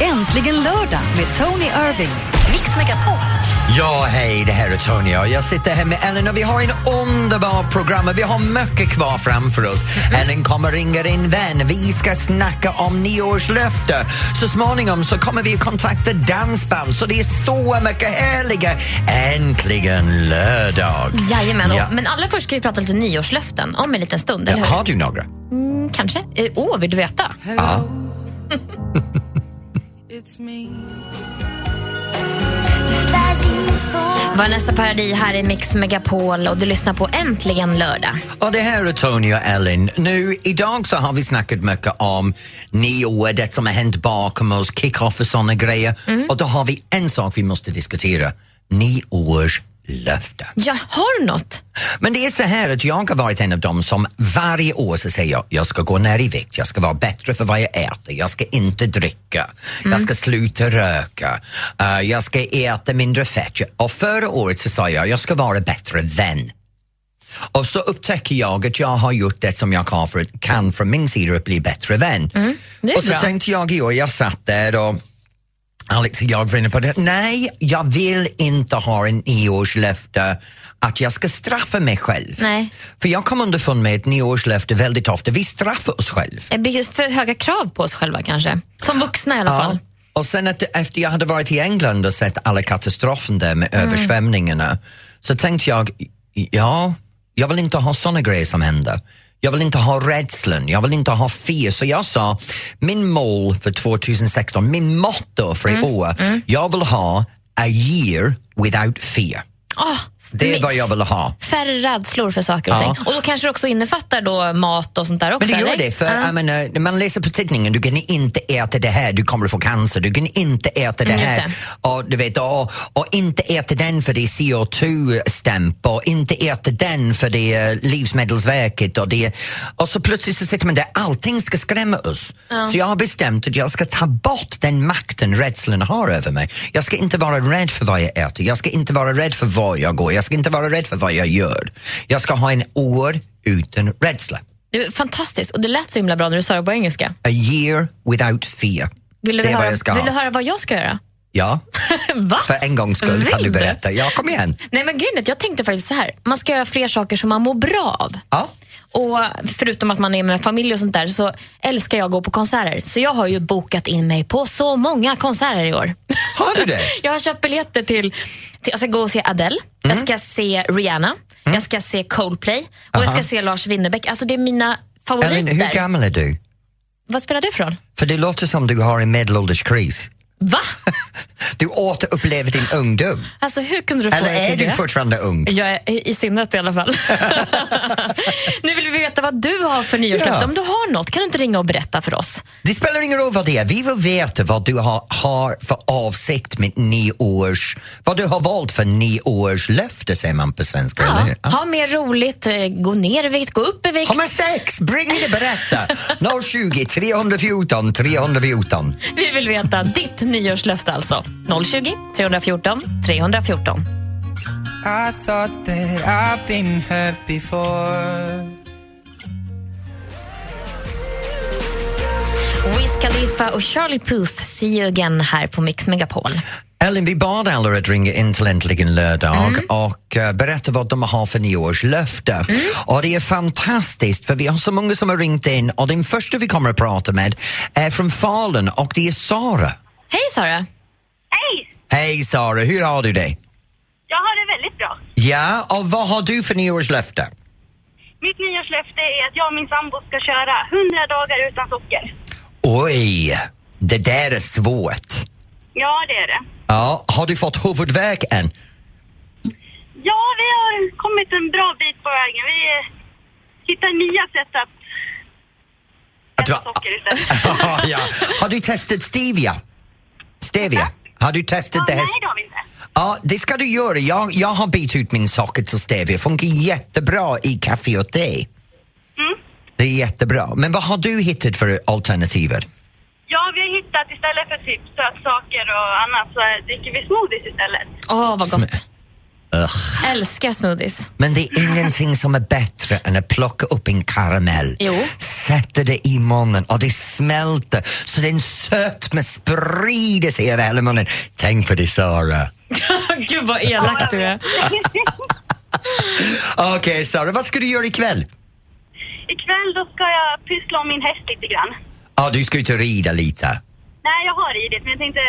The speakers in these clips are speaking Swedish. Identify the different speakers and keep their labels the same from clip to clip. Speaker 1: Äntligen lördag med Tony Irving. Mix Megapol.
Speaker 2: Ja, hej, det här är Tony och jag sitter här med Ellen och vi har en underbar program och vi har mycket kvar framför oss.
Speaker 3: Mm.
Speaker 2: Ellen kommer ringa in vän, vi ska snacka om nyårslöfte. Så småningom så kommer vi kontakta dansband så det är så mycket härliga äntligen lördag.
Speaker 3: Jajamän,
Speaker 2: Ja.
Speaker 3: och, men allra först ska vi prata lite nyårslöften om en liten stund,
Speaker 2: Ja,
Speaker 3: eller hur?
Speaker 2: har du några?
Speaker 3: Mm, kanske. Eh, Åh, vill du veta?
Speaker 2: Ja.
Speaker 3: Vanessa Paradis här i Mix Megapol och du lyssnar på Äntligen lördag.
Speaker 2: Och det här är Tony och Ellen. Nu, idag så har vi snackat mycket om nyår, det som har hänt bakom oss, kick-off och såna grejer. Och då har vi en sak vi måste diskutera, nyårslöfte.
Speaker 3: Ja, har du något?
Speaker 2: Men det är så här att jag har varit en av dem som varje år så säger jag, jag ska gå ner i vikt, jag ska vara bättre för vad jag äter, jag ska inte dricka,
Speaker 3: Mm.
Speaker 2: jag ska sluta röka, eh, jag ska äta mindre fett. Och förra året så sa jag, jag ska vara bättre vän. Och så upptäcker jag att jag har gjort det som jag kan, för, kan från min sida att bli bättre vän.
Speaker 3: Mm. det är
Speaker 2: och så
Speaker 3: bra.
Speaker 2: tänkte jag i år, jag satt där och Alex och jag var inne på det. Nej, jag vill inte ha en nyårslöfte att jag ska straffa mig själv.
Speaker 3: Nej.
Speaker 2: För jag kom underfund med ett nyårslöfte väldigt ofta, vi straffar oss själva.
Speaker 3: Det blir Eh, för höga krav på oss själva kanske. Som vuxna i alla fall.
Speaker 2: Och sen att, efter jag hade varit i England och sett alla katastrofen där med översvämningarna så tänkte jag, ja, jag vill inte ha såna grejer som händer. Jag vill inte ha rädslan, jag vill inte ha fear. Så jag sa, min mål för 2016, min motto för i år, jag vill ha a year without fear.
Speaker 3: Ah,
Speaker 2: Det är
Speaker 3: men-
Speaker 2: vad jag vill ha.
Speaker 3: Färre rädslor för saker och
Speaker 2: Ja.
Speaker 3: ting. Och då kanske det också innefattar då mat och sånt där också?
Speaker 2: Men det gör
Speaker 3: eller?
Speaker 2: det, för
Speaker 3: Ja.
Speaker 2: jag menar, när man läser på tidningen, du kan inte äta det här, du kommer att få cancer, du kan inte äta det
Speaker 3: Mm, just
Speaker 2: här. Och, du vet, och, och inte äta den för det är CO2-stämp och inte äta den för det är Livsmedelsverket. Och, det, och så plötsligt så sitter man där, allting ska skrämma oss. Så jag har bestämt att jag ska ta bort den makten rädslan har över mig. Jag ska inte vara rädd för vad jag äter, jag ska inte vara rädd för var jag går, jag ska inte vara rädd för vad jag gör. Jag ska ha en år utan rädsla.
Speaker 3: Det är fantastiskt och det lät så himla bra när du sa det på engelska.
Speaker 2: A year without fear.
Speaker 3: Vill du,
Speaker 2: det är
Speaker 3: höra,
Speaker 2: vad jag ska
Speaker 3: vill du
Speaker 2: ha.
Speaker 3: höra vad jag ska göra?
Speaker 2: Ja,
Speaker 3: Va?
Speaker 2: för en gångs skull kan du
Speaker 3: Vill du?
Speaker 2: berätta. Ja, kom igen.
Speaker 3: Nej men grejen är att jag tänkte faktiskt så här. Man ska göra fler saker som man mår bra av.
Speaker 2: Ja.
Speaker 3: Och förutom att man är med familj och sånt där så älskar jag att gå på konserter. Så jag har ju bokat in mig på så många konserter i år.
Speaker 2: Har du det?
Speaker 3: Jag har köpt biljetter till, till jag ska gå och se Adele, jag
Speaker 2: Mm.
Speaker 3: ska se Rihanna, jag ska se Coldplay och jag ska se Lars Winnerbäck. Alltså det är mina favoriter.
Speaker 2: Ellen, hur gammal är du?
Speaker 3: Vad spelar det för roll?
Speaker 2: För det låter som du har en medelålderskris.
Speaker 3: Va?
Speaker 2: Du återupplever din ungdom.
Speaker 3: Alltså hur kunde du få
Speaker 2: Eller
Speaker 3: det
Speaker 2: är
Speaker 3: till
Speaker 2: du
Speaker 3: det?
Speaker 2: fortfarande ung?
Speaker 3: Jag är i sinnet i alla fall. nu vill vi veta vad du har för nyårslöfte.
Speaker 2: Ja.
Speaker 3: Om du har något kan du inte ringa och berätta för oss.
Speaker 2: Det spelar ingen roll vad det är. Vi vill veta vad du har, har för avsikt med nyårs... Vad du har valt för nyårslöfte, säger man på svenska.
Speaker 3: Ja.
Speaker 2: eller hur? Ja.
Speaker 3: Ha mer roligt, eh, gå ner i vikt, gå upp i vikt.
Speaker 2: Har man sex? Bring det, berätta! 020 314 314.
Speaker 3: Vi vill veta ditt nyårslöfte alltså. 020 314 314.
Speaker 4: I thought that I've been hurt before.
Speaker 3: Wiz Khalifa och Charlie Puth, see you again här på Mix Megapol.
Speaker 2: Ellen, vi bad alla att ringa in till Äntligen lördag
Speaker 5: Mm.
Speaker 2: och eh, berätta vad de har för nyårslöfte. Och det är fantastiskt för vi har så många som har ringt in och den första vi kommer att prata med är från Falun och det är Sara.
Speaker 3: Hej Sara!
Speaker 5: Hej!
Speaker 2: Hej Sara, hur har du det?
Speaker 5: Jag har det väldigt bra.
Speaker 2: Ja, och vad har du för nyårslöfte?
Speaker 5: Mitt nyårslöfte är att jag och min sambo ska köra 100 dagar utan socker.
Speaker 2: Oj, det där är svårt.
Speaker 5: Ja, det är det.
Speaker 2: Ja, har du fått huvudvärk än?
Speaker 5: Ja, vi har kommit en bra bit på vägen. Vi eh, hittar nya sätt att
Speaker 2: Att
Speaker 5: äta
Speaker 2: du-
Speaker 5: socker istället.
Speaker 2: ja. Har du testat stevia? Stevia? Har du testat
Speaker 5: Ja,
Speaker 2: det här?
Speaker 5: nej, det har vi inte.
Speaker 2: Ja, det ska du göra. Jag, jag har bytt ut min socker till stevia. Funkar jättebra i kaffe och te.
Speaker 5: Mm.
Speaker 2: Det är jättebra. Men vad har du hittat för alternativer?
Speaker 5: Ja, vi har hittat istället för typ sötsaker och annat så eh, dricker vi smoothies istället.
Speaker 3: Åh, vad gott.
Speaker 2: Ugh.
Speaker 3: Älskar smoothies.
Speaker 2: Men det är ingenting som är bättre än att plocka upp en karamell,
Speaker 3: Jo.
Speaker 2: sätta det i munnen och det smälter så den sötma sprider sig över hela munnen. Tänk på det, Sara.
Speaker 3: Gud vad elak du är.
Speaker 2: Okej, Sara, vad ska du göra ikväll?
Speaker 5: Ikväll då ska jag pyssla om min häst lite grann.
Speaker 2: Ja, du ska ut och rida lite.
Speaker 5: Nej, jag har ridit men jag tänkte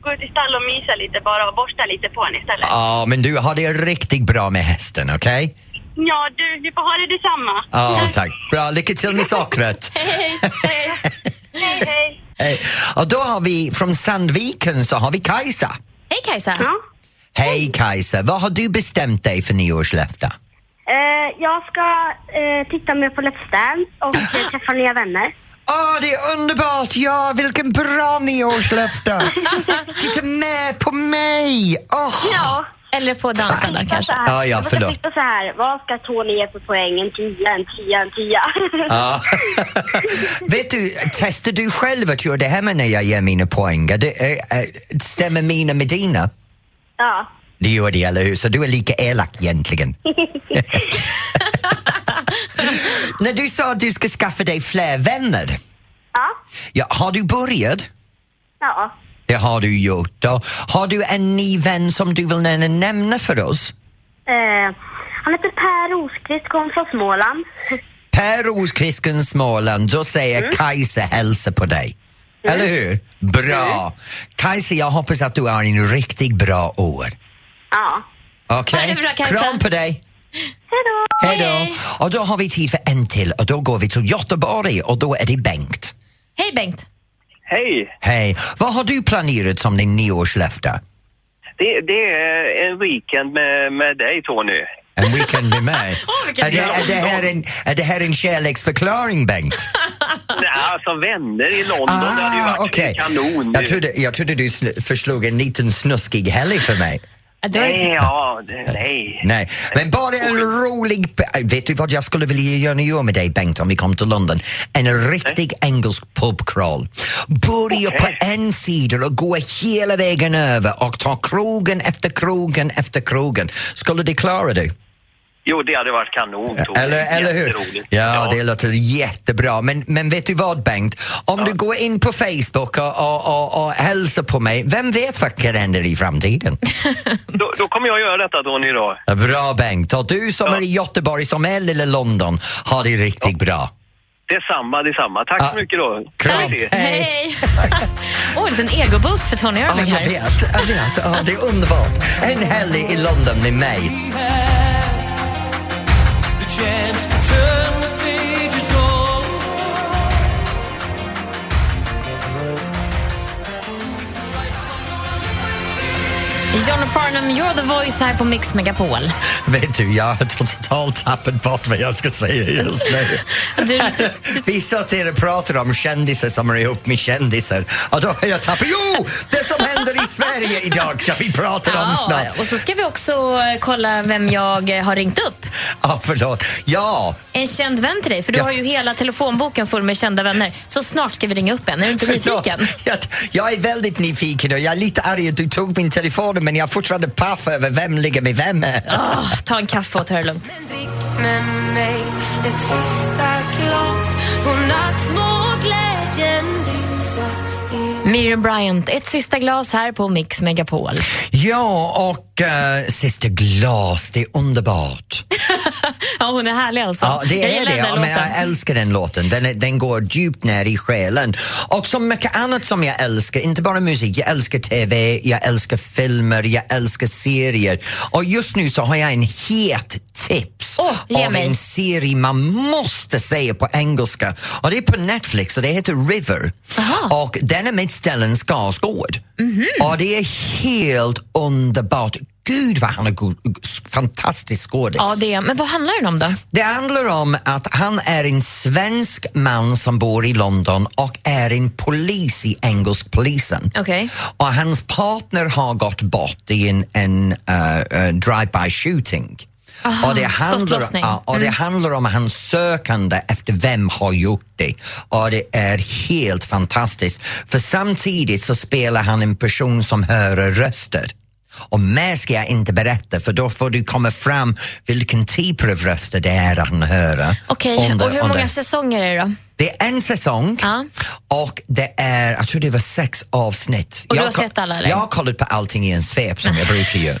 Speaker 5: gå ut i stall och mysa lite bara och borsta lite på henne istället.
Speaker 2: Ja, men du har det riktigt bra med hästen, okej?
Speaker 5: Ja, du, vi får ha det detsamma.
Speaker 2: Ja, tack. Bra, lycka till med sockret.
Speaker 3: Hej, hej.
Speaker 5: Hej, hej.
Speaker 2: Hej. Och då har vi från Sandviken så har vi Kajsa.
Speaker 3: Hej Kajsa.
Speaker 5: Ja.
Speaker 2: Hej Kajsa, vad har du bestämt dig för nyårslöfte?
Speaker 6: Eh, jag ska eh, titta mer på Let's Dance och eh, träffa nya vänner.
Speaker 2: Åh, det är underbart! Ja, vilken bra nyårslöfte! Titta med på mig! Åh!
Speaker 6: Ja.
Speaker 3: Eller på dansarna kanske.
Speaker 6: Så här,
Speaker 2: Ja, ja,
Speaker 6: jag
Speaker 2: förlåt.
Speaker 6: brukar titta så här, vad ska Tony ge för poäng? En tia, en tia, en tia.
Speaker 2: Ja. Vet du, testar du själv att göra det hemma när jag ger mina poäng? Är Det, eh, eh, stämmer mina med dina?
Speaker 6: ja.
Speaker 2: Det gör det, eller hur? Så du är lika elak egentligen. när du sa att du ska skaffa dig fler vänner,
Speaker 6: Ja.
Speaker 2: ja, har du börjat?
Speaker 6: Ja.
Speaker 2: Det har du gjort. Och har du en ny vän som du vill nä- nämna för oss?
Speaker 6: Eh, han heter Per Rosqvist, kom från Småland.
Speaker 2: Per Roskristen Småland, då säger
Speaker 3: Mm.
Speaker 2: Kajsa hälsa på dig. Eller hur? Bra!
Speaker 3: Mm.
Speaker 2: Kajsa, jag hoppas att du har en riktigt bra år.
Speaker 6: Ja.
Speaker 2: Okej?
Speaker 3: Ha det bra, Kajsa.
Speaker 2: Kram på dig!
Speaker 6: Hej då!
Speaker 2: Hej då!
Speaker 3: Hej.
Speaker 2: Och då har vi tid för en till och då går vi till Göteborg och då är det Bengt.
Speaker 3: Hej Bengt.
Speaker 7: Hej!
Speaker 2: Hej! Vad har du planerat som din nyårslöfte?
Speaker 7: Det, det är en weekend med, med dig, Tony.
Speaker 2: En weekend med mig?
Speaker 3: Åh, vilken
Speaker 2: är, det, är, det här en, är det här en kärleksförklaring, Bengt?
Speaker 7: Nej, Alltså vänner i London, det hade ju varit
Speaker 2: Ah, okej.
Speaker 7: kanon.
Speaker 2: Jag trodde, jag trodde du sl- förslog en liten snuskig helg för mig.
Speaker 3: Du har-
Speaker 7: Nej, ja, det- nej.
Speaker 2: Nej, men bara en rolig... p- Vet du vad jag skulle vilja göra i år med dig, Bengt, om vi kom till London? En riktig engelsk pubcrawl. Börja på en sida och gå hela vägen över och ta krogen efter krogen efter krogen. Skulle det klara du?
Speaker 7: Jo, det hade varit kanon, Tony.
Speaker 2: Eller, eller hur? Ja,
Speaker 7: Jätteroligt.
Speaker 2: det låter jättebra. Men, men vet du vad, Bengt? Om du går in på Facebook och, och, och, och hälsar på mig, vem vet vad kan hända i framtiden?
Speaker 7: då, då kommer jag göra detta, Tony, då.
Speaker 2: Bra Bengt! Och du som
Speaker 7: Ja.
Speaker 2: är i Göteborg, som är eller London, har det riktigt bra.
Speaker 7: Detsamma, detsamma. Tack
Speaker 2: Ja.
Speaker 7: så mycket då.
Speaker 2: Ah, Kram.
Speaker 7: Vi ses.
Speaker 2: Hej.
Speaker 3: Hej. Åh, en liten egoboost för Tony
Speaker 2: Ja,
Speaker 3: Irving
Speaker 2: jag
Speaker 3: här.
Speaker 2: vet, jag vet. Ja, det är underbart. En helg i London med mig.
Speaker 3: John Farnham, you're the voice här på Mix Megapol.
Speaker 2: Vet du, jag har totalt tappat bort vad jag ska säga just nu.
Speaker 3: Du,
Speaker 2: Vi satt här och pratade om kändisar som är ihop med kändisar och då har jag tappat... Jo! Det som händer i Sverige idag ska vi prata om
Speaker 3: ja,
Speaker 2: snart.
Speaker 3: och så ska vi också eh, kolla vem jag eh, har ringt upp.
Speaker 2: Ja, förlåt. Ja,
Speaker 3: En känd vän till dig, för du
Speaker 2: Ja.
Speaker 3: har ju hela telefonboken full med kända vänner. Så snart ska vi ringa upp en. Är du inte nyfiken?
Speaker 2: Förlåt. Jag, jag är väldigt nyfiken och jag är lite arg att du tog min telefon men jag är fortfarande paff över vem ligger med vem.
Speaker 3: Ah, ta en kaffe och ta det lugnt. Miriam Bryant, ett sista glas här på Mix Megapol.
Speaker 2: Ja, och uh, Sista Glas, det är underbart.
Speaker 3: Ja, hon är härlig alltså.
Speaker 2: Ja, det
Speaker 3: jag
Speaker 2: är
Speaker 3: gillar
Speaker 2: det.
Speaker 3: den
Speaker 2: Ja,
Speaker 3: här
Speaker 2: men eh,
Speaker 3: låten.
Speaker 2: jag älskar den låten. Den, är- den går djupt ner i själen. Och som mycket annat som jag älskar, inte bara musik, jag älskar TV, jag älskar filmer, jag älskar serier. Och just nu så har jag en het tips
Speaker 3: Åh, ge
Speaker 2: av
Speaker 3: mig.
Speaker 2: en serie man måste säga på engelska. Och det är på Netflix och det heter River. Och den är med Stellan Skarsgård.
Speaker 3: Mhm.
Speaker 2: Och det är helt underbart. Gud vad han är god, fantastisk skådis.
Speaker 3: Ja, det är. Men vad handlar den om då?
Speaker 2: Det handlar om att han är en svensk man som bor i London och är en polis i engelsk polisen.
Speaker 3: Okej.
Speaker 2: Och hans partner har gått bort i en, en eh, eh, drive-by shooting. och det handlar,
Speaker 3: skottlossning. Mm.
Speaker 2: ja, och det handlar om hans sökande efter vem har gjort det. Och det är helt fantastiskt. För samtidigt så spelar han en person som hör röster. Och mer ska jag inte berätta för då får du komma fram vilken typ av röster det är han hör. eh,
Speaker 3: Okej,
Speaker 2: Om det-
Speaker 3: och hur
Speaker 2: om
Speaker 3: många
Speaker 2: det.
Speaker 3: säsonger är det då?
Speaker 2: Det är en säsong
Speaker 3: Ja.
Speaker 2: och det är, jag tror det var sex avsnitt.
Speaker 3: Och du
Speaker 2: jag
Speaker 3: har
Speaker 2: ko-
Speaker 3: sett alla, eller?
Speaker 2: Jag har kollat på allting i en svep som jag brukar göra.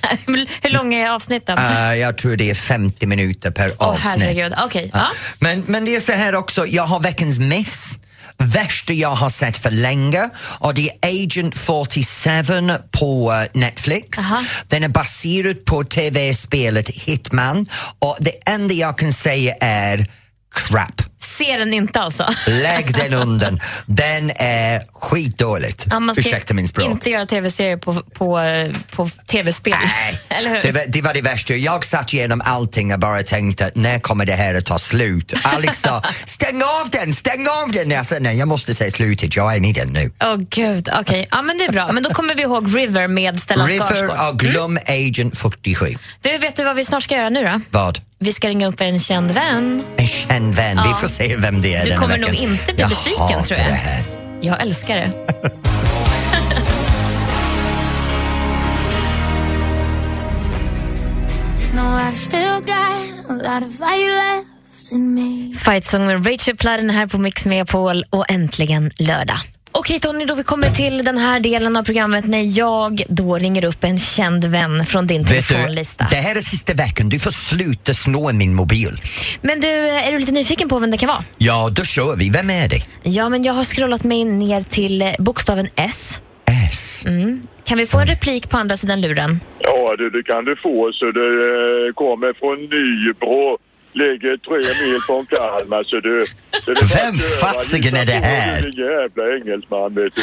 Speaker 3: hur långa är avsnitten?
Speaker 2: Eh, jag tror det är 50 minuter per
Speaker 3: Åh
Speaker 2: avsnitt.
Speaker 3: herregud, okej.
Speaker 2: Ja.
Speaker 3: Ja.
Speaker 2: Men, men det är så här också, jag har veckans miss. Värsta jag har sett för länge och det är Agent 47 på eh, Netflix.
Speaker 3: Aha.
Speaker 2: Den är baserad på tv-spelet Hitman och det enda jag kan säga är crap.
Speaker 3: Ser den inte alltså?
Speaker 2: Lägg den undan. Den är skitdåligt.
Speaker 3: Ja, man ska
Speaker 2: Ursäkta min språk.
Speaker 3: inte göra tv-serier på, på, eh, på tv-spel.
Speaker 2: Nej,
Speaker 3: Eller hur?
Speaker 2: det, var, det var det värsta. Jag satt igenom allting och bara tänkte, när kommer det här att ta slut? Alex sa, stäng av den, stäng av den! Jag sa, nej, jag måste säga slutet, jag är i den nu.
Speaker 3: Åh gud, okej. Ja men det är bra. Men då kommer vi ihåg River med Stellan
Speaker 2: River
Speaker 3: Skarsgård.
Speaker 2: och glöm Agent 47.
Speaker 3: Du, vet du vad vi snart ska göra nu då?
Speaker 2: Vad?
Speaker 3: Vi ska ringa upp en känd vän.
Speaker 2: En känd vän, vi får se vem det är
Speaker 3: Du
Speaker 2: denna
Speaker 3: kommer nog
Speaker 2: veckan.
Speaker 3: inte bli besviken,
Speaker 2: hatar
Speaker 3: tror jag.
Speaker 2: det här.
Speaker 3: Jag älskar det. Fight Song med Rachel Platten här på Mix Megapol och äntligen lördag. Okej Tony, då vi kommer till den här delen av programmet när jag då ringer upp en känd vän från din
Speaker 2: Vet du,
Speaker 3: telefonlista.
Speaker 2: det här är sista veckan, du får sluta snå min mobil.
Speaker 3: Men du, är du lite nyfiken på vem det kan vara?
Speaker 2: Ja, då kör vi. Vem är det?
Speaker 3: Ja, men jag har scrollat mig ner till eh, bokstaven S.
Speaker 2: S.
Speaker 3: Kan vi få en replik på andra sidan luren?
Speaker 8: Ja du, det kan du få så du eh, kommer från Nybro. Ligger tre mil från Kalmar så du... Så det
Speaker 2: Vem fasiken är det här?
Speaker 8: Du jävla engelsman vet du.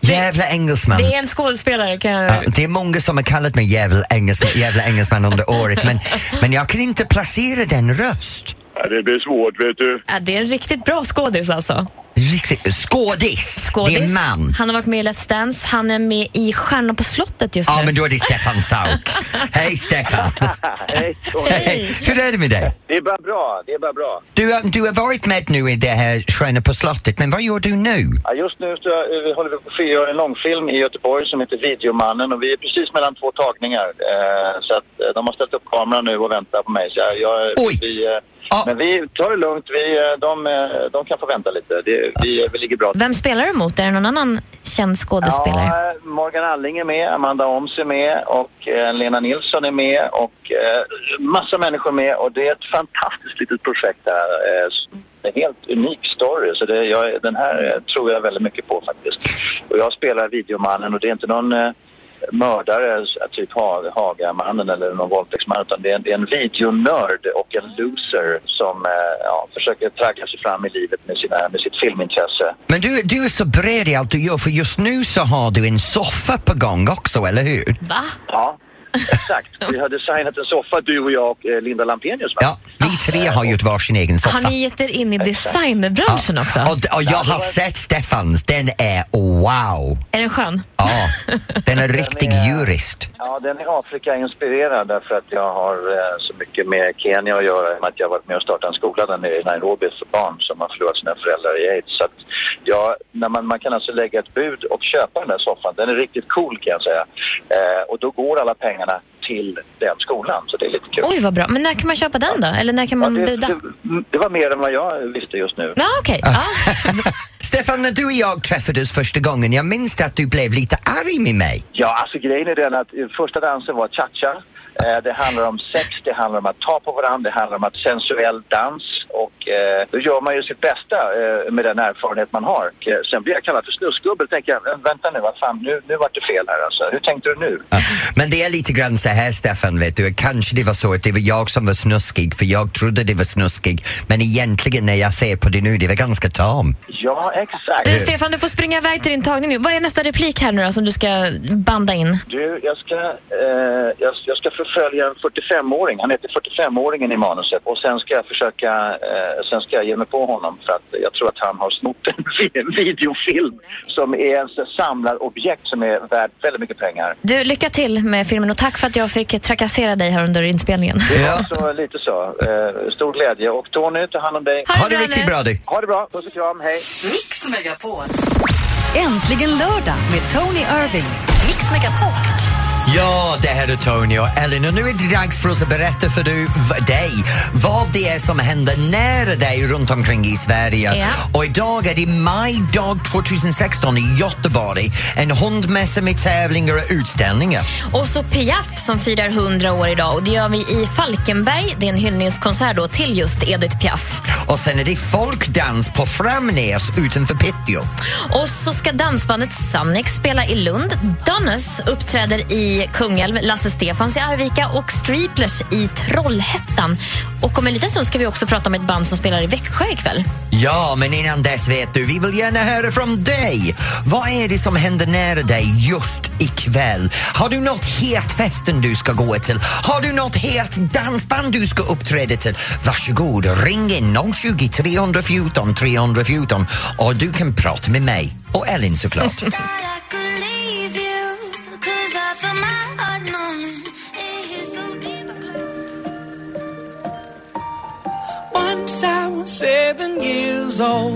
Speaker 2: Jävla engelsman.
Speaker 3: Det är en skådespelare. Kan jag...
Speaker 2: Ja, det är många som har kallat mig jävla engelsman, jävla engelsman under året men, men jag kan inte placera den röst.
Speaker 8: Ja, det blir svårt vet du.
Speaker 3: Ja, det är en riktigt bra skådis alltså.
Speaker 2: Riktigt. Skådis.
Speaker 3: Skådis.
Speaker 2: Det är en man.
Speaker 3: Han har varit med i Let's Dance. Han är med i Stjärnorna på slottet just
Speaker 2: Ja,
Speaker 3: nu.
Speaker 2: men då är det Stefan Sauk. Hej Stefan!
Speaker 7: Hej,
Speaker 2: Hej. Hur är det med dig?
Speaker 7: det är bara bra, det är bara bra.
Speaker 2: Du, har- du har varit med nu i det här Stjärnor på slottet, men vad gör du nu?
Speaker 7: Ja, just nu så eh, håller vi på att göra en långfilm i Göteborg som heter Videomannen och vi är precis mellan två tagningar. Eh, så att eh, de har ställt upp kameran nu och väntar på mig. Så jag, jag,
Speaker 2: Oj.
Speaker 7: Vi, eh,
Speaker 2: Ja.
Speaker 7: Men vi tar det lugnt, vi, eh, de, eh, de kan få vänta lite. Det, vi, vi ligger bra till.
Speaker 3: Vem spelar du mot? Är det någon annan känd skådespelare?
Speaker 7: Ja, eh, Morgan Alling är med, Amanda Oms är med och eh, Lena Nilsson är med och eh, massa människor med och det är ett fantastiskt litet projekt där. Eh, som är en helt unik story, så det, jag, den här eh, tror jag väldigt mycket på faktiskt. Och jag spelar videomannen och det är inte någon eh, mördare, s- typ ha, Hagamannen eller någon våldtäktsman utan det är, en- det är en videonörd och en loser som eh, ja, försöker traggla sig fram i livet med, sina, med sitt filmintresse.
Speaker 2: Men du, du är så bred i allt du gör för just nu så har du en soffa på gång också, eller hur?
Speaker 3: Va?
Speaker 7: Ja, exakt. Vi har designat en soffa, du och jag och eh, Linda Lampenius. va?
Speaker 2: Ja, vi tre har gjort varsin egen soffa.
Speaker 3: Har ni gett er in i designerbranschen också?
Speaker 2: Och, och jag har sett Stefans, den är wow!
Speaker 3: Är den skön?
Speaker 2: Ja, den är riktig jurist.
Speaker 7: Ja, den är Afrika-inspirerad därför att jag har eh, så mycket med Kenya att göra i och med att jag har varit med och startat en skola där nere i Nairobi för barn som har förlorat sina föräldrar i aids. Så att ja, när man, man kan alltså lägga ett bud och köpa den där soffan. Den är riktigt cool kan jag säga. Eh, och då går alla pengarna till den skolan, så det är lite kul.
Speaker 3: Oj, vad bra. Men när kan man köpa den då? Eller när kan
Speaker 7: Ja,
Speaker 3: man
Speaker 7: det,
Speaker 3: buda?
Speaker 7: det, det var mer än vad jag visste just nu.
Speaker 3: Ja, okej. Ja.
Speaker 2: Stefan, när du och jag träffades första gången, jag minns att du blev lite arg med mig.
Speaker 7: Ja, alltså grejen är den att eh, första dansen var cha-cha. Eh, Det handlar om sex, det handlar om att ta på varandra, det handlar om att sensuell dans och eh, då gör man ju sitt bästa eh, med den erfarenhet man har. Och, eh, Sen blir jag kallad för snusgubbe och tänker jag, "Vä- vänta nu, vad fan, nu, nu vart det fel här alltså. Hur tänkte du nu?
Speaker 2: Ja. Men det är lite grann så här, Stefan, vet du, kanske det var så att det var jag som var snuskig, för jag trodde det var snuskig, men egentligen när jag ser på det nu, det var ganska tam.
Speaker 7: Ja, exakt.
Speaker 3: Du Stefan, du får springa iväg till din tagning nu. Vad är nästa replik här nu då som du ska banda in?
Speaker 7: Du, jag ska, eh, jag, jag ska förfölja en 45-åring. Han heter 45-åringen i manuset. Och sen ska jag försöka, eh, sen ska jag ge mig på honom för att jag tror att han har snott en vi- videofilm som är en samlarobjekt som är värd väldigt mycket pengar.
Speaker 3: Du, lycka till med filmen och tack för att jag fick trakassera dig här under inspelningen.
Speaker 2: Ja.
Speaker 7: Så lite så. Eh, stor glädje. Och Tony, ta hand om dig.
Speaker 2: Ha det riktigt bra du.
Speaker 7: Ha det bra. Puss och kram. Hej.
Speaker 1: Mix Megapol. Äntligen lördag med Tony Irving. Mix Megapol.
Speaker 2: Ja, det här är Tony och Ellen och nu är det dags för oss att berätta för du, v- dig vad det är som händer nära dig runt omkring i Sverige.
Speaker 3: Ja.
Speaker 2: Och idag är det maj dag 2016 i Göteborg. En hundmässa med tävlingar och utställningar.
Speaker 3: Och så Piaf som firar 100 år idag och det gör vi i Falkenberg. Det är en hyllningskonsert då till just Edith Piaf.
Speaker 2: Och sen är det folkdans på Framnäs utanför Piteå.
Speaker 3: Och så ska dansbandet Sannex spela i Lund. Donnes uppträder i Kungälv, Lasse Stefans i Arvika och Streeplers i Trollhättan. Och om en liten stund ska vi också prata om ett band som spelar i Växjö ikväll.
Speaker 2: Ja, men innan dess vet du, vi vill gärna höra från dig. Vad är det som händer nära dig just ikväll? Har du något het festen du ska gå till? Har du något het dansband du ska uppträda till? Varsågod, ring in 020 314 314 och du kan prata med mig och Ellen såklart.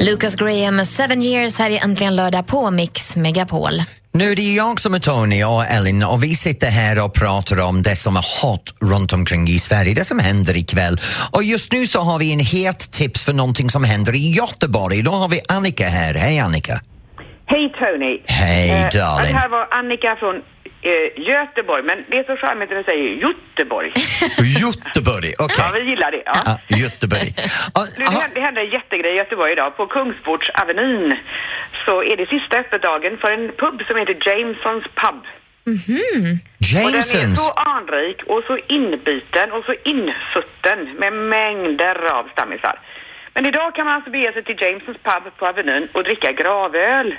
Speaker 3: Lucas Graham med Seven Years här i Äntligen lördag på Mix Megapol.
Speaker 2: Nu är det jag som är Tony och Ellen och vi sitter här och pratar om det som är hot runt omkring i Sverige, det som händer ikväll. Och just nu så har vi en het tips för någonting som händer i Göteborg. Då har vi Annika här. Hej Annika!
Speaker 9: Hej Tony!
Speaker 2: Hej,
Speaker 9: Eh,
Speaker 2: darling.
Speaker 9: Det här var Annika från eh, Göteborg, men det är så charmigt när du säger Göteborg.
Speaker 2: Göteborg, okej.
Speaker 9: Ja, vi gillar det. Ja.
Speaker 2: Ja, Göteborg. Ja,
Speaker 9: Nu, det, hände, det hände en jättegrej i Göteborg idag. På Kungsportsavenyn så är det sista öppetdagen för en pub som heter Jamesons pub. Och den är
Speaker 2: Jamesons.
Speaker 9: så anrik och så inbiten och så insutten med mängder av stammisar. Men idag kan man alltså bege sig till Jamesons pub på Avenyn och dricka gravöl.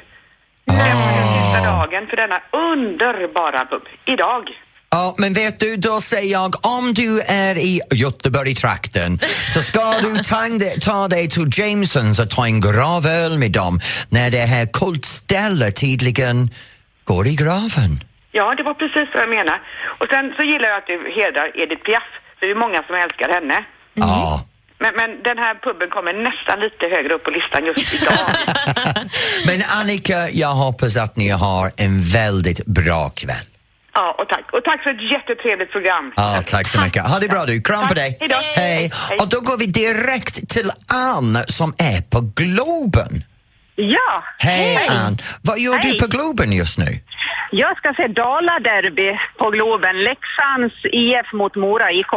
Speaker 9: Det är sista dagen för denna underbara pub. Idag.
Speaker 2: Ja, men vet du, då säger jag om du är i Göteborg-trakten så ska du ta, ta dig till Jamesons och ta en gravöl med dem när det här kultstället tydligen går i graven.
Speaker 9: Ja, det var precis vad jag menade. Och sen så gillar jag att du hedrar Edith Piaf, för det är många som älskar henne.
Speaker 2: Ja.
Speaker 9: Men, men den här puben kommer nästan lite högre upp på listan just idag.
Speaker 2: Men Annika, jag hoppas att ni har en väldigt bra kväll.
Speaker 9: ja, och tack. Och tack för ett jättetrevligt program.
Speaker 2: Ja, tack så mycket. Ha det bra du. Kram på
Speaker 9: Tack.
Speaker 2: dig.
Speaker 9: Hej då.
Speaker 2: Hej.
Speaker 9: Hej.
Speaker 2: Och då går vi direkt till Ann som är på Globen.
Speaker 10: Ja,
Speaker 2: Hej, Ann. Vad gör du
Speaker 10: Hej.
Speaker 2: på Globen just nu?
Speaker 10: jag ska se Dala-derby på Globen. Leksands IF mot Mora IK.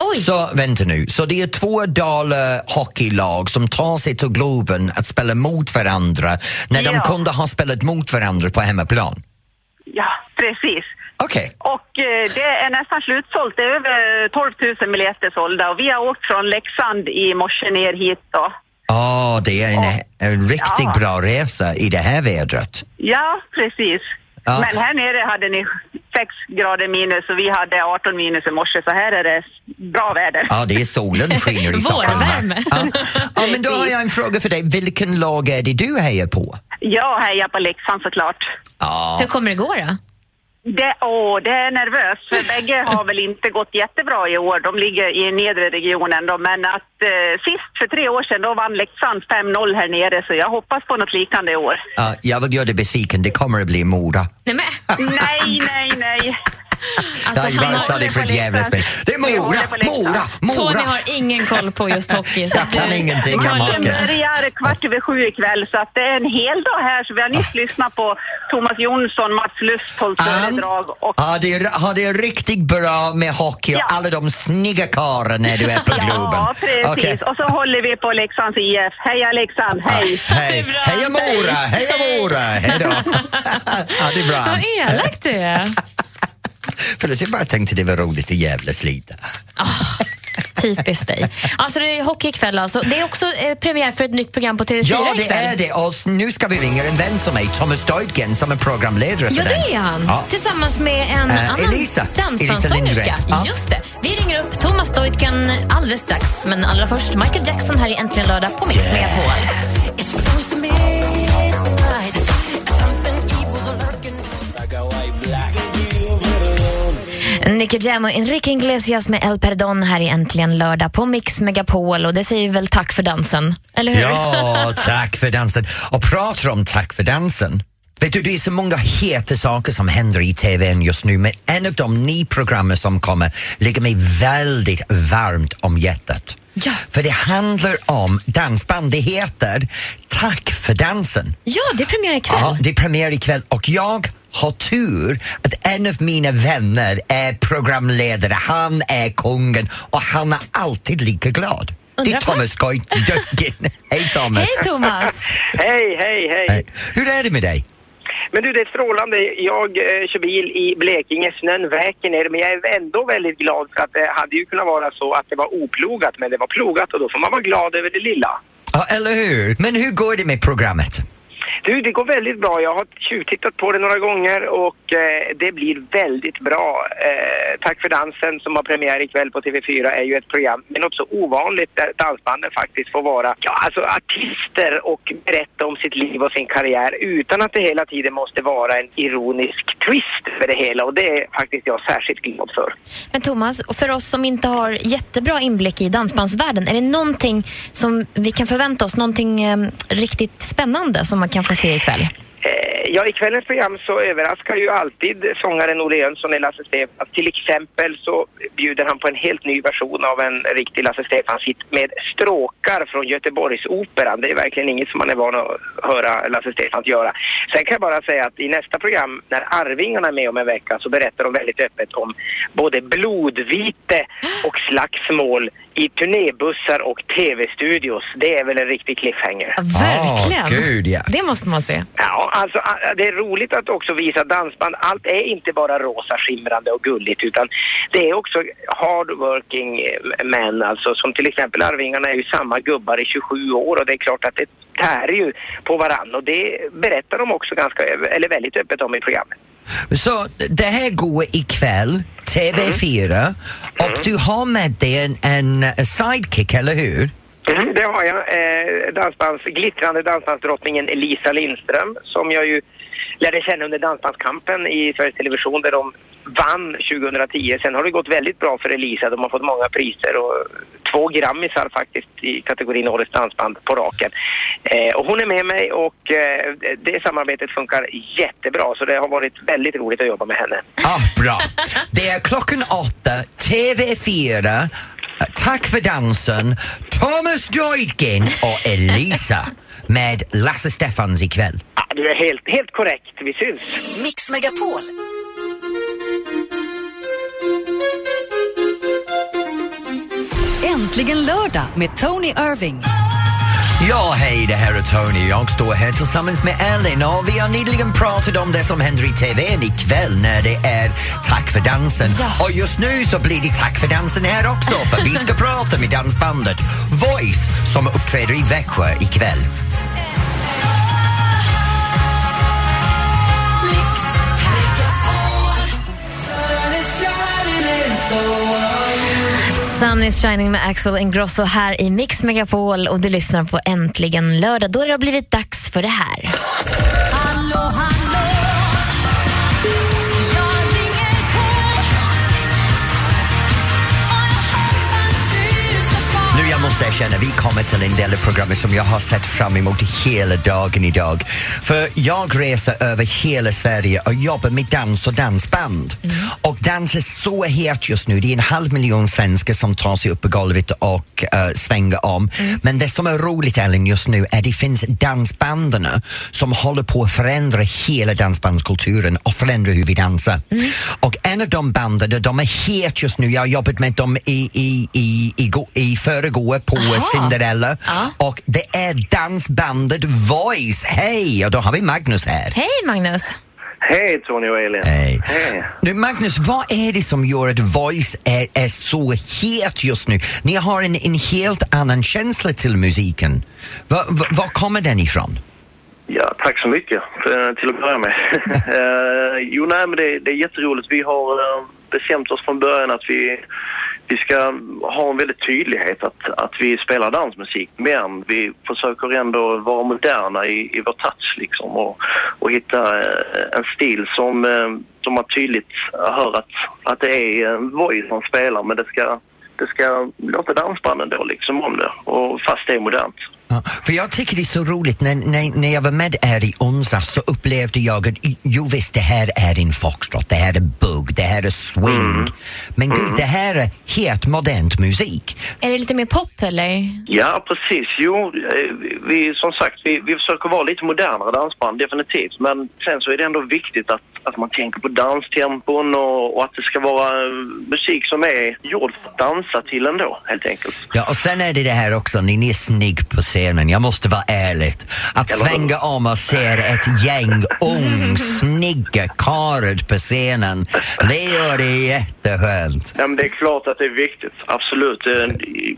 Speaker 3: Oj!
Speaker 2: Så vänta nu, så det är två Dala hockeylag som tar sig till Globen att spela mot varandra när de
Speaker 10: Ja.
Speaker 2: kunde ha spelat mot varandra på hemmaplan?
Speaker 10: Ja, precis.
Speaker 2: Okej.
Speaker 10: Och eh, det är nästan slutsålt. Det är över 12 000 biljetter sålda och vi har åkt från Leksand i morse ner hit då.
Speaker 2: Ja, det är en, en riktigt
Speaker 10: Ja.
Speaker 2: bra resa i det här vädret.
Speaker 10: Ja, precis.
Speaker 2: Ja.
Speaker 10: Men här nere hade ni 6 grader minus och vi hade 18 minus i morse så här är det bra väder.
Speaker 2: Ja, det är solen skiner i Stockholm. här.
Speaker 3: Vårvärme.
Speaker 2: Ja. ja, men då har jag en fråga för dig. Vilken lag är det du hejar på?
Speaker 10: Jag hejar på Leksand såklart.
Speaker 2: Ja,
Speaker 3: Hur kommer det gå då?
Speaker 10: Det, åh, det är nervöst, för bägge har väl inte gått jättebra i år. De ligger i nedre regionen då, men att eh, sist för tre år sedan då vann Leksand 5-0 här nere, så jag hoppas på något liknande i år.
Speaker 2: ja, jag vill göra dig besviken. Det kommer att bli Mora.
Speaker 3: Nej, men.
Speaker 10: Nej, nej, nej.
Speaker 3: Alltså,
Speaker 2: jag bara
Speaker 3: han
Speaker 2: sa
Speaker 3: har,
Speaker 2: det för ett jävla spel. Det är
Speaker 10: Vi
Speaker 2: Mora,
Speaker 10: håller på läktaren.
Speaker 2: Mora,
Speaker 3: Tony
Speaker 2: Mora!
Speaker 3: har ingen koll på just hockey. så
Speaker 2: Jag
Speaker 3: att du-
Speaker 2: kan ingenting om
Speaker 10: Matchen
Speaker 2: hockey.
Speaker 10: börjar kvart över sju ikväll, så att det är en hel dag här. Så vi har nyss lyssnat på Thomas Jonsson, Mats Lust hållt
Speaker 2: Ann,
Speaker 10: föredrag och
Speaker 2: har det, har det riktigt bra med hockey och
Speaker 10: Ja.
Speaker 2: alla de snygga karlarna när du är på Globen.
Speaker 10: Ja, precis.
Speaker 2: Ah, Okej.
Speaker 10: Och så håller vi på Leksands IF. Heja Leksand, hej!
Speaker 2: Hej.
Speaker 3: Det är bra.
Speaker 2: Heja Mora, heja Mora, hej då. ja, det är bra.
Speaker 3: Vad elak du är.
Speaker 2: Förlåt, jag bara tänkte det var roligt att jävlas lite.
Speaker 3: Typiskt dig. Alltså det är hockey ikväll alltså. Det är också eh, premiär för ett nytt program på TV4
Speaker 2: Ja, det
Speaker 3: ikväll.
Speaker 2: är det. Och s- nu ska vi ringa en vän som mig, Thomas Deutgen, som är programledare för
Speaker 3: Ja,
Speaker 2: den.
Speaker 3: det är han.
Speaker 2: Ja.
Speaker 3: Tillsammans med en
Speaker 2: Eh,
Speaker 3: annan
Speaker 2: Elisa. Elisa
Speaker 3: dansbandssångerska.
Speaker 2: Lindgren. Ja.
Speaker 3: Just det. Vi ringer upp Thomas Deutgen alldeles strax. Men allra först Michael Jackson här i Äntligen lördag på Mix Megapol. Nicky Jam och Enrique Iglesias med El Perdon här i Äntligen lördag på Mix Megapol. Och det säger väl tack för dansen, eller hur?
Speaker 2: Ja, tack för dansen. Och pratar om tack för dansen. Vet du, det är så många heta saker som händer i TVn just nu men en av de nya programmen som kommer ligger mig väldigt varmt om hjärtat. För det handlar om dansband. Det heter Tack för dansen.
Speaker 3: Ja, det är premiär ikväll.
Speaker 2: Ja, det är premiär ikväll och jag har tur att en av mina vänner är programledare, han är kungen och han är alltid lika glad. det är
Speaker 11: Undrar på-
Speaker 2: Thomas Goitgen. Hej Thomas!
Speaker 11: hej, hej, hej.
Speaker 2: Hej. Hur är det med dig?
Speaker 11: Men du, det är strålande. Jag eh, kör bil i Blekinge, snön väker ner, men jag är ändå väldigt glad för att det hade ju kunnat vara så att det var oplogat, men det var plogat och då får man vara glad över det lilla.
Speaker 2: Ja, eller hur? Men hur går det med programmet?
Speaker 11: Du, det går väldigt bra. Jag har tjuvtittat på det några gånger och eh, det blir väldigt bra. Eh, Tack för dansen som har premiär ikväll på TV4 är ju ett program med något så ovanligt där dansbanden faktiskt får vara ja, alltså artister och berätta om sitt liv och sin karriär utan att det hela tiden måste vara en ironisk twist för det hela och det är faktiskt jag särskilt glad för.
Speaker 3: Men Thomas, och för oss som inte har jättebra inblick i dansbandsvärlden, är det någonting som vi kan förvänta oss? Någonting eh, riktigt spännande som man kan få se ikväll?
Speaker 11: Eh, Ja, i kvällens program så överraskar ju alltid sångaren Olle Jönsson i Lasse Stefans. Till exempel så bjuder han på en helt ny version av en riktig Lasse Stefans-hit med stråkar från Göteborgsoperan. Det är verkligen inget som man är van att höra Lasse Stefans göra. Sen kan jag bara säga att i nästa program, när Arvingarna är med om en vecka, så berättar de väldigt öppet om både blodvite och slagsmål i turnébussar och tv-studios. Det är väl en riktig cliffhanger.
Speaker 3: Verkligen!
Speaker 2: gud, ja.
Speaker 3: Det måste man se.
Speaker 11: Ja, alltså a- det är roligt att också visa dansband. Allt är inte bara rosa, skimrande och gulligt utan det är också hardworking eh, män alltså som till exempel Arvingarna är ju samma gubbar i 27 år och det är klart att det tär ju på varann och det berättar de också ganska, ö- eller väldigt öppet om i programmet.
Speaker 2: Så det här går ikväll, TV4, och du har med dig en, en sidekick, eller hur?
Speaker 11: Mm, det har jag. Eh, dansbands, glittrande dansbandsdrottningen Lisa Lindström som jag ju lärde känna under Dansbandskampen i Sveriges Television där de vann 2010. Sen har det gått väldigt bra för Elisa. De har fått många priser och två grammisar faktiskt i kategorin Årets dansband på raken. Eh, och hon är med mig och eh, det samarbetet funkar jättebra så det har varit väldigt roligt att jobba med henne.
Speaker 2: Ah, bra. Det är klockan åtta, TV4, Tack för dansen, Thomas Deutgen och Elisa med Lasse Stefans ikväll.
Speaker 11: Ja, du är helt, helt korrekt. Vi syns.
Speaker 1: Mix Megapol. Äntligen lördag med Tony Irving.
Speaker 2: Ja, hej, det här är Tony. Jag står här tillsammans med Ellen och vi har nyligen pratat om det som händer i TVn ikväll när det är Tack för dansen. Och just nu så blir det Tack för dansen här också för vi ska prata med dansbandet Voice som uppträder i Växjö ikväll.
Speaker 3: Sun is shining med Axel Ingrosso här i Mix Megapol och du lyssnar på Äntligen lördag. Då har det blivit dags för det här.
Speaker 2: Nu jag måste erkänna, vi kommer till en del av programmet som jag har sett fram emot hela dagen idag. För jag reser över hela Sverige och jobbar med dans och dansband. Och dans är så het just nu. Det är en halv miljon svenskar som tar sig upp på golvet och eh, svänger om. Men det som är roligt, Ellen, just nu är det finns dansbanden som håller på att förändra hela dansbandskulturen och förändra hur vi dansar. Och en av de banden, de är het just nu. Jag har jobbat med dem i, i, i, i, go- i förrgår på Cinderella och det är dansbandet Voice. Hej! Och då har vi Magnus här.
Speaker 3: Hej Magnus!
Speaker 12: Hej Tony och Elin.
Speaker 2: Hej. Nu Magnus, vad är det som gör att Voice är, är så het just nu? Ni har en, en helt annan känsla till musiken. Va- va- var kommer den ifrån?
Speaker 12: Ja, tack så mycket eh, till att börja med. Eh, jo, nej, men det, det är jätteroligt. Vi har eh, bestämt oss från början att vi, vi ska ha en väldigt tydlighet att, att vi spelar dansmusik. Men vi försöker ändå vara moderna i, i vår touch liksom och, och hitta eh, en stil som eh, som man tydligt hör att, att det är eh, voice som spelar men det ska, det ska låta dansbanden då liksom om det. Och fast det är modernt.
Speaker 2: Ja, För jag tycker det är så roligt, när, när, när jag var med er i onsdags så upplevde jag att jo visst, det här är en foxtrot, det här är bugg, det här är swing. Men gud, det här är helt modernt musik.
Speaker 3: Är det lite mer pop eller?
Speaker 12: Ja, precis. Jo, eh, vi, som sagt, vi, vi försöker vara lite modernare dansband, definitivt. Men sen så är det ändå viktigt att, att man tänker på danstempon och, och att det ska vara eh, musik som är gjord för att dansa till ändå, helt enkelt.
Speaker 2: Ja, och sen är det det här också, ni är snygg på scenen, jag måste vara ärlig. Att
Speaker 12: Eller hur?
Speaker 2: svänga om och se ett gäng ung, snygga karlar på scenen, det gör det jätteskönt.
Speaker 12: Ja, men det är klart att det är viktigt, absolut. Eh,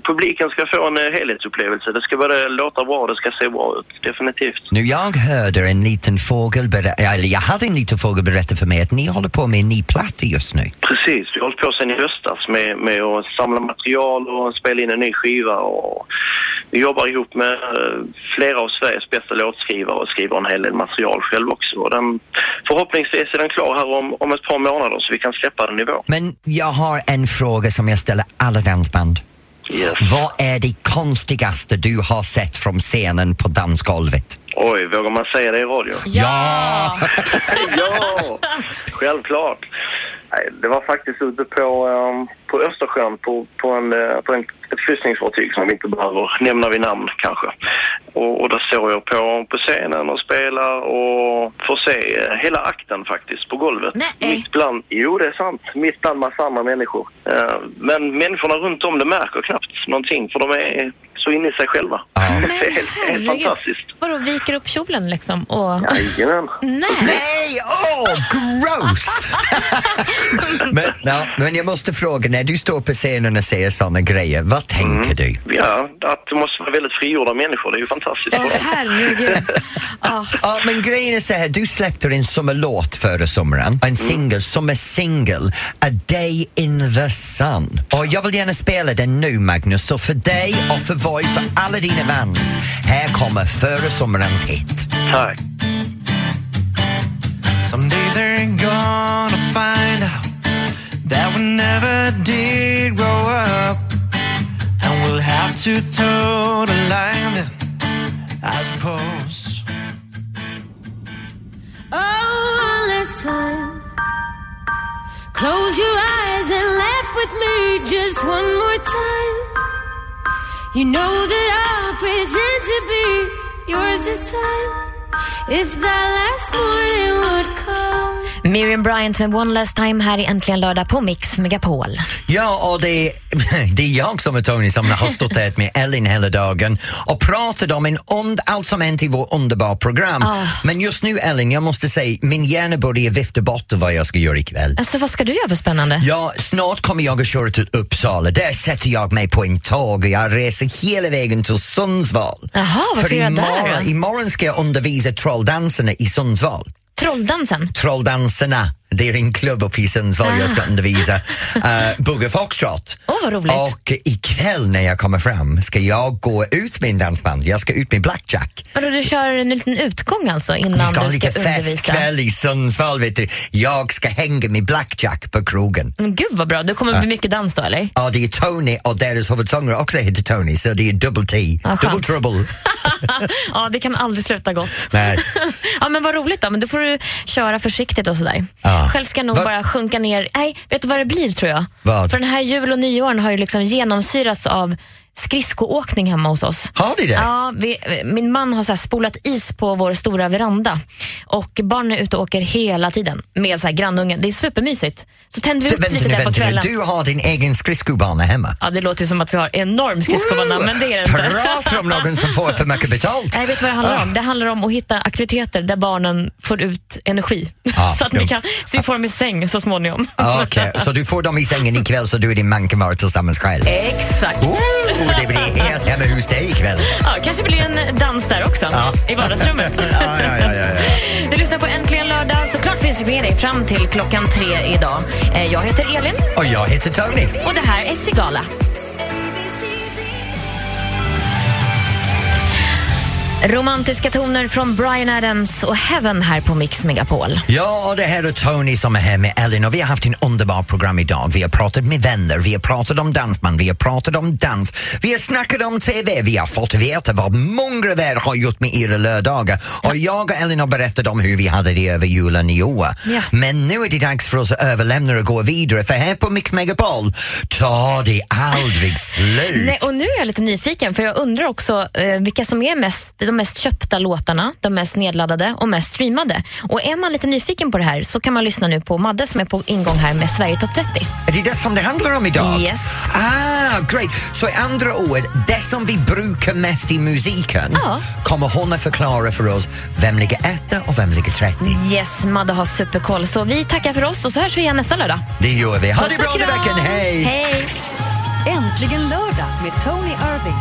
Speaker 12: Publiken ska få en eh, helhetsupplevelse. Det ska både låta bra och det ska se bra ut, definitivt.
Speaker 2: Nu jag hörde en liten fågel berätta, eller jag hade en liten fågel berätta för mig att ni håller på med en ny platta just nu.
Speaker 12: Precis, vi har hållit på sedan i höstas med, med att samla material och spela in en ny skiva. Och vi jobbar ihop med eh, flera av Sveriges bästa låtskrivare och skriver en hel del material själv också. Och Den, förhoppningsvis är den klar här om, om ett par månader så vi kan släppa den i vår.
Speaker 2: Men jag har en fråga som jag ställer alla dansband. Vad är det konstigaste du har sett från scenen på dansgolvet?
Speaker 12: Oj, vågar man säga det i radio?
Speaker 2: Ja!
Speaker 12: ja, självklart. Nej, det var faktiskt ute på, ehm, på Östersjön på, på, en, eh, på en, ett kryssningsfartyg som vi inte behöver nämna vid namn kanske. Och, och där står jag på, på scenen och spelar och får se eh, hela akten faktiskt på golvet.
Speaker 3: Nej.
Speaker 12: Mitt bland, jo det är sant, mitt bland massa andra människor. Eh, men människorna runt om det märker knappt någonting för de är så inne i sig själva. det är helt, helt fantastiskt.
Speaker 3: Vadå, viker upp kjolen liksom? Och...
Speaker 12: Jajamän.
Speaker 2: Nej! Åh, gross! Men, ja, men jag måste fråga, när du står på scenen och säger sådana grejer, vad tänker du?
Speaker 12: Ja, att det måste vara väldigt frigjorda människor. Det är ju fantastiskt.
Speaker 3: herregud.
Speaker 2: Ja, men grejen är så här, du släppte en sommarlåt förra sommaren, en singel, sommarsingel, A Day in the Sun. Och jag vill gärna spela den nu Magnus, så för dig och för Voice och alla dina vans, här kommer förra sommarens hit.
Speaker 12: Tack.
Speaker 4: Someday they're gonna find out that we never did grow up, and we'll have to toe the line then, I suppose.
Speaker 13: Oh, one last time. Close your eyes and laugh with me just one more time. You know that I'll pretend to be yours this time. If that last morning would come.
Speaker 3: Miriam Bryant med One Last Time här i Äntligen lördag på Mix Megapol.
Speaker 2: Ja, och det, det är jag som är Tony som har stått här med Ellen hela dagen och pratat om en ond, allt som hänt i vårt underbara program.
Speaker 3: Ah.
Speaker 2: Men just nu Ellen, jag måste säga, min hjärna börjar vifta bort vad jag ska göra ikväll.
Speaker 3: Alltså vad ska du göra för spännande?
Speaker 2: Ja, snart kommer jag att köra till Uppsala. Där sätter jag mig på en tåg och jag reser hela vägen till Sundsvall.
Speaker 3: Jaha,
Speaker 2: För
Speaker 3: vad ska du göra där
Speaker 2: imorgon,
Speaker 3: då?
Speaker 2: imorgon ska jag undervisa trolldansarna i Sundsvall.
Speaker 3: Trolldansen?
Speaker 2: Trolldanserna, det är en klubb uppe i Sundsvall jag ska
Speaker 3: Ah.
Speaker 2: undervisa. Uh, Bugge foxtrot.
Speaker 3: Åh, vad roligt.
Speaker 2: Och ikväll när jag kommer fram ska jag gå ut med en dansband. Jag ska ut med Blackjack.
Speaker 3: Vadå, du kör en liten utgång alltså
Speaker 2: Vi
Speaker 3: innan
Speaker 2: ska ha
Speaker 3: du
Speaker 2: lite
Speaker 3: ska undervisa?
Speaker 2: festkväll i Sundsvall, vet du. Jag ska hänga med Blackjack på krogen.
Speaker 3: Men gud vad bra, det kommer bli mycket dans då eller?
Speaker 2: Ja, det är Tony och deras huvudsångare också heter Tony, så det är double T.
Speaker 3: Ja, skönt.
Speaker 2: double trouble.
Speaker 3: ja, det kan aldrig sluta gott.
Speaker 2: Nej.
Speaker 3: ja, men vad roligt då, men då får du köra försiktigt och sådär.
Speaker 2: Ja.
Speaker 3: Själv ska jag nog
Speaker 2: Va-
Speaker 3: bara sjunka ner, nej, vet du vad det blir tror jag?
Speaker 2: Vad?
Speaker 3: För den här jul och nyåren har ju liksom genomsyrats av skridskoåkning hemma hos oss.
Speaker 2: Har ni det?
Speaker 3: Ja, vi, min man har så här spolat is på vår stora veranda och barnen är ute och åker hela tiden med så här grannungen. Det är supermysigt. Så tänder
Speaker 2: Du,
Speaker 3: vi upp
Speaker 2: vänta
Speaker 3: lite
Speaker 2: nu,
Speaker 3: där på
Speaker 2: vänta nu.
Speaker 3: kvällen.
Speaker 2: Du har din egen skridskobana hemma.
Speaker 3: Ja, det låter ju som att vi har enorm skridskobana,
Speaker 2: Woo!
Speaker 3: men det är det inte.
Speaker 2: Pratar om någon som får för mycket betalt.
Speaker 3: Nej, vet du vad det handlar
Speaker 2: Ah.
Speaker 3: om? Det handlar om att hitta aktiviteter där barnen får ut energi.
Speaker 2: Ah,
Speaker 3: så, att ni
Speaker 2: jo.
Speaker 3: kan, så vi får dem i säng så småningom.
Speaker 2: Ah, Okej, så du får dem i sängen ikväll så du och din man kan vara tillsammans själv.
Speaker 3: Exakt.
Speaker 2: Oh, det blir helt hemma hos dig ikväll.
Speaker 3: Ja, kanske blir en dans där också,
Speaker 2: Ja.
Speaker 3: i vardagsrummet.
Speaker 2: Ah. Ja, ja, ja, ja, ja.
Speaker 3: Du lyssnar på Äntligen lördag. Såklart finns vi med dig fram till klockan tre idag. Eh, Jag heter Elin
Speaker 2: Och jag heter Tony.
Speaker 3: och det här är Sigala. Romantiska toner från Brian Adams och Heaven här på Mix Megapol.
Speaker 2: Ja, och det här är Tony som är här med Ellen och vi har haft en underbar program idag. Vi har pratat med vänner, vi har pratat om dansband, vi har pratat om dans, vi har snackat om TV, vi har fått veta vad många av er har gjort med era lördagar och jag och Ellen har berättat om hur vi hade det över julen i år.
Speaker 4: Ja.
Speaker 2: Men nu är det dags för oss att överlämna och gå vidare för här på Mix Megapol tar det aldrig slut.
Speaker 3: Nej, och nu är jag lite nyfiken för jag undrar också eh, vilka som är mest, de mest köpta låtarna, de mest nedladdade och mest streamade. Och är man lite nyfiken på det här så kan man lyssna nu på Madde som är på ingång här med Sverige Top 30.
Speaker 2: Är det det som det handlar om idag?
Speaker 3: Yes.
Speaker 2: Ah, great. Så i andra ord, det som vi brukar mest i musiken kommer hon att förklara för oss vem ligger etta och vem ligger 30.
Speaker 3: Yes, Madde har superkoll. Så vi tackar för oss och så hörs vi igen nästa lördag.
Speaker 2: Det gör vi. Ha det bra nu veckan, hej!
Speaker 3: Hej!
Speaker 1: Äntligen lördag med Tony Irving.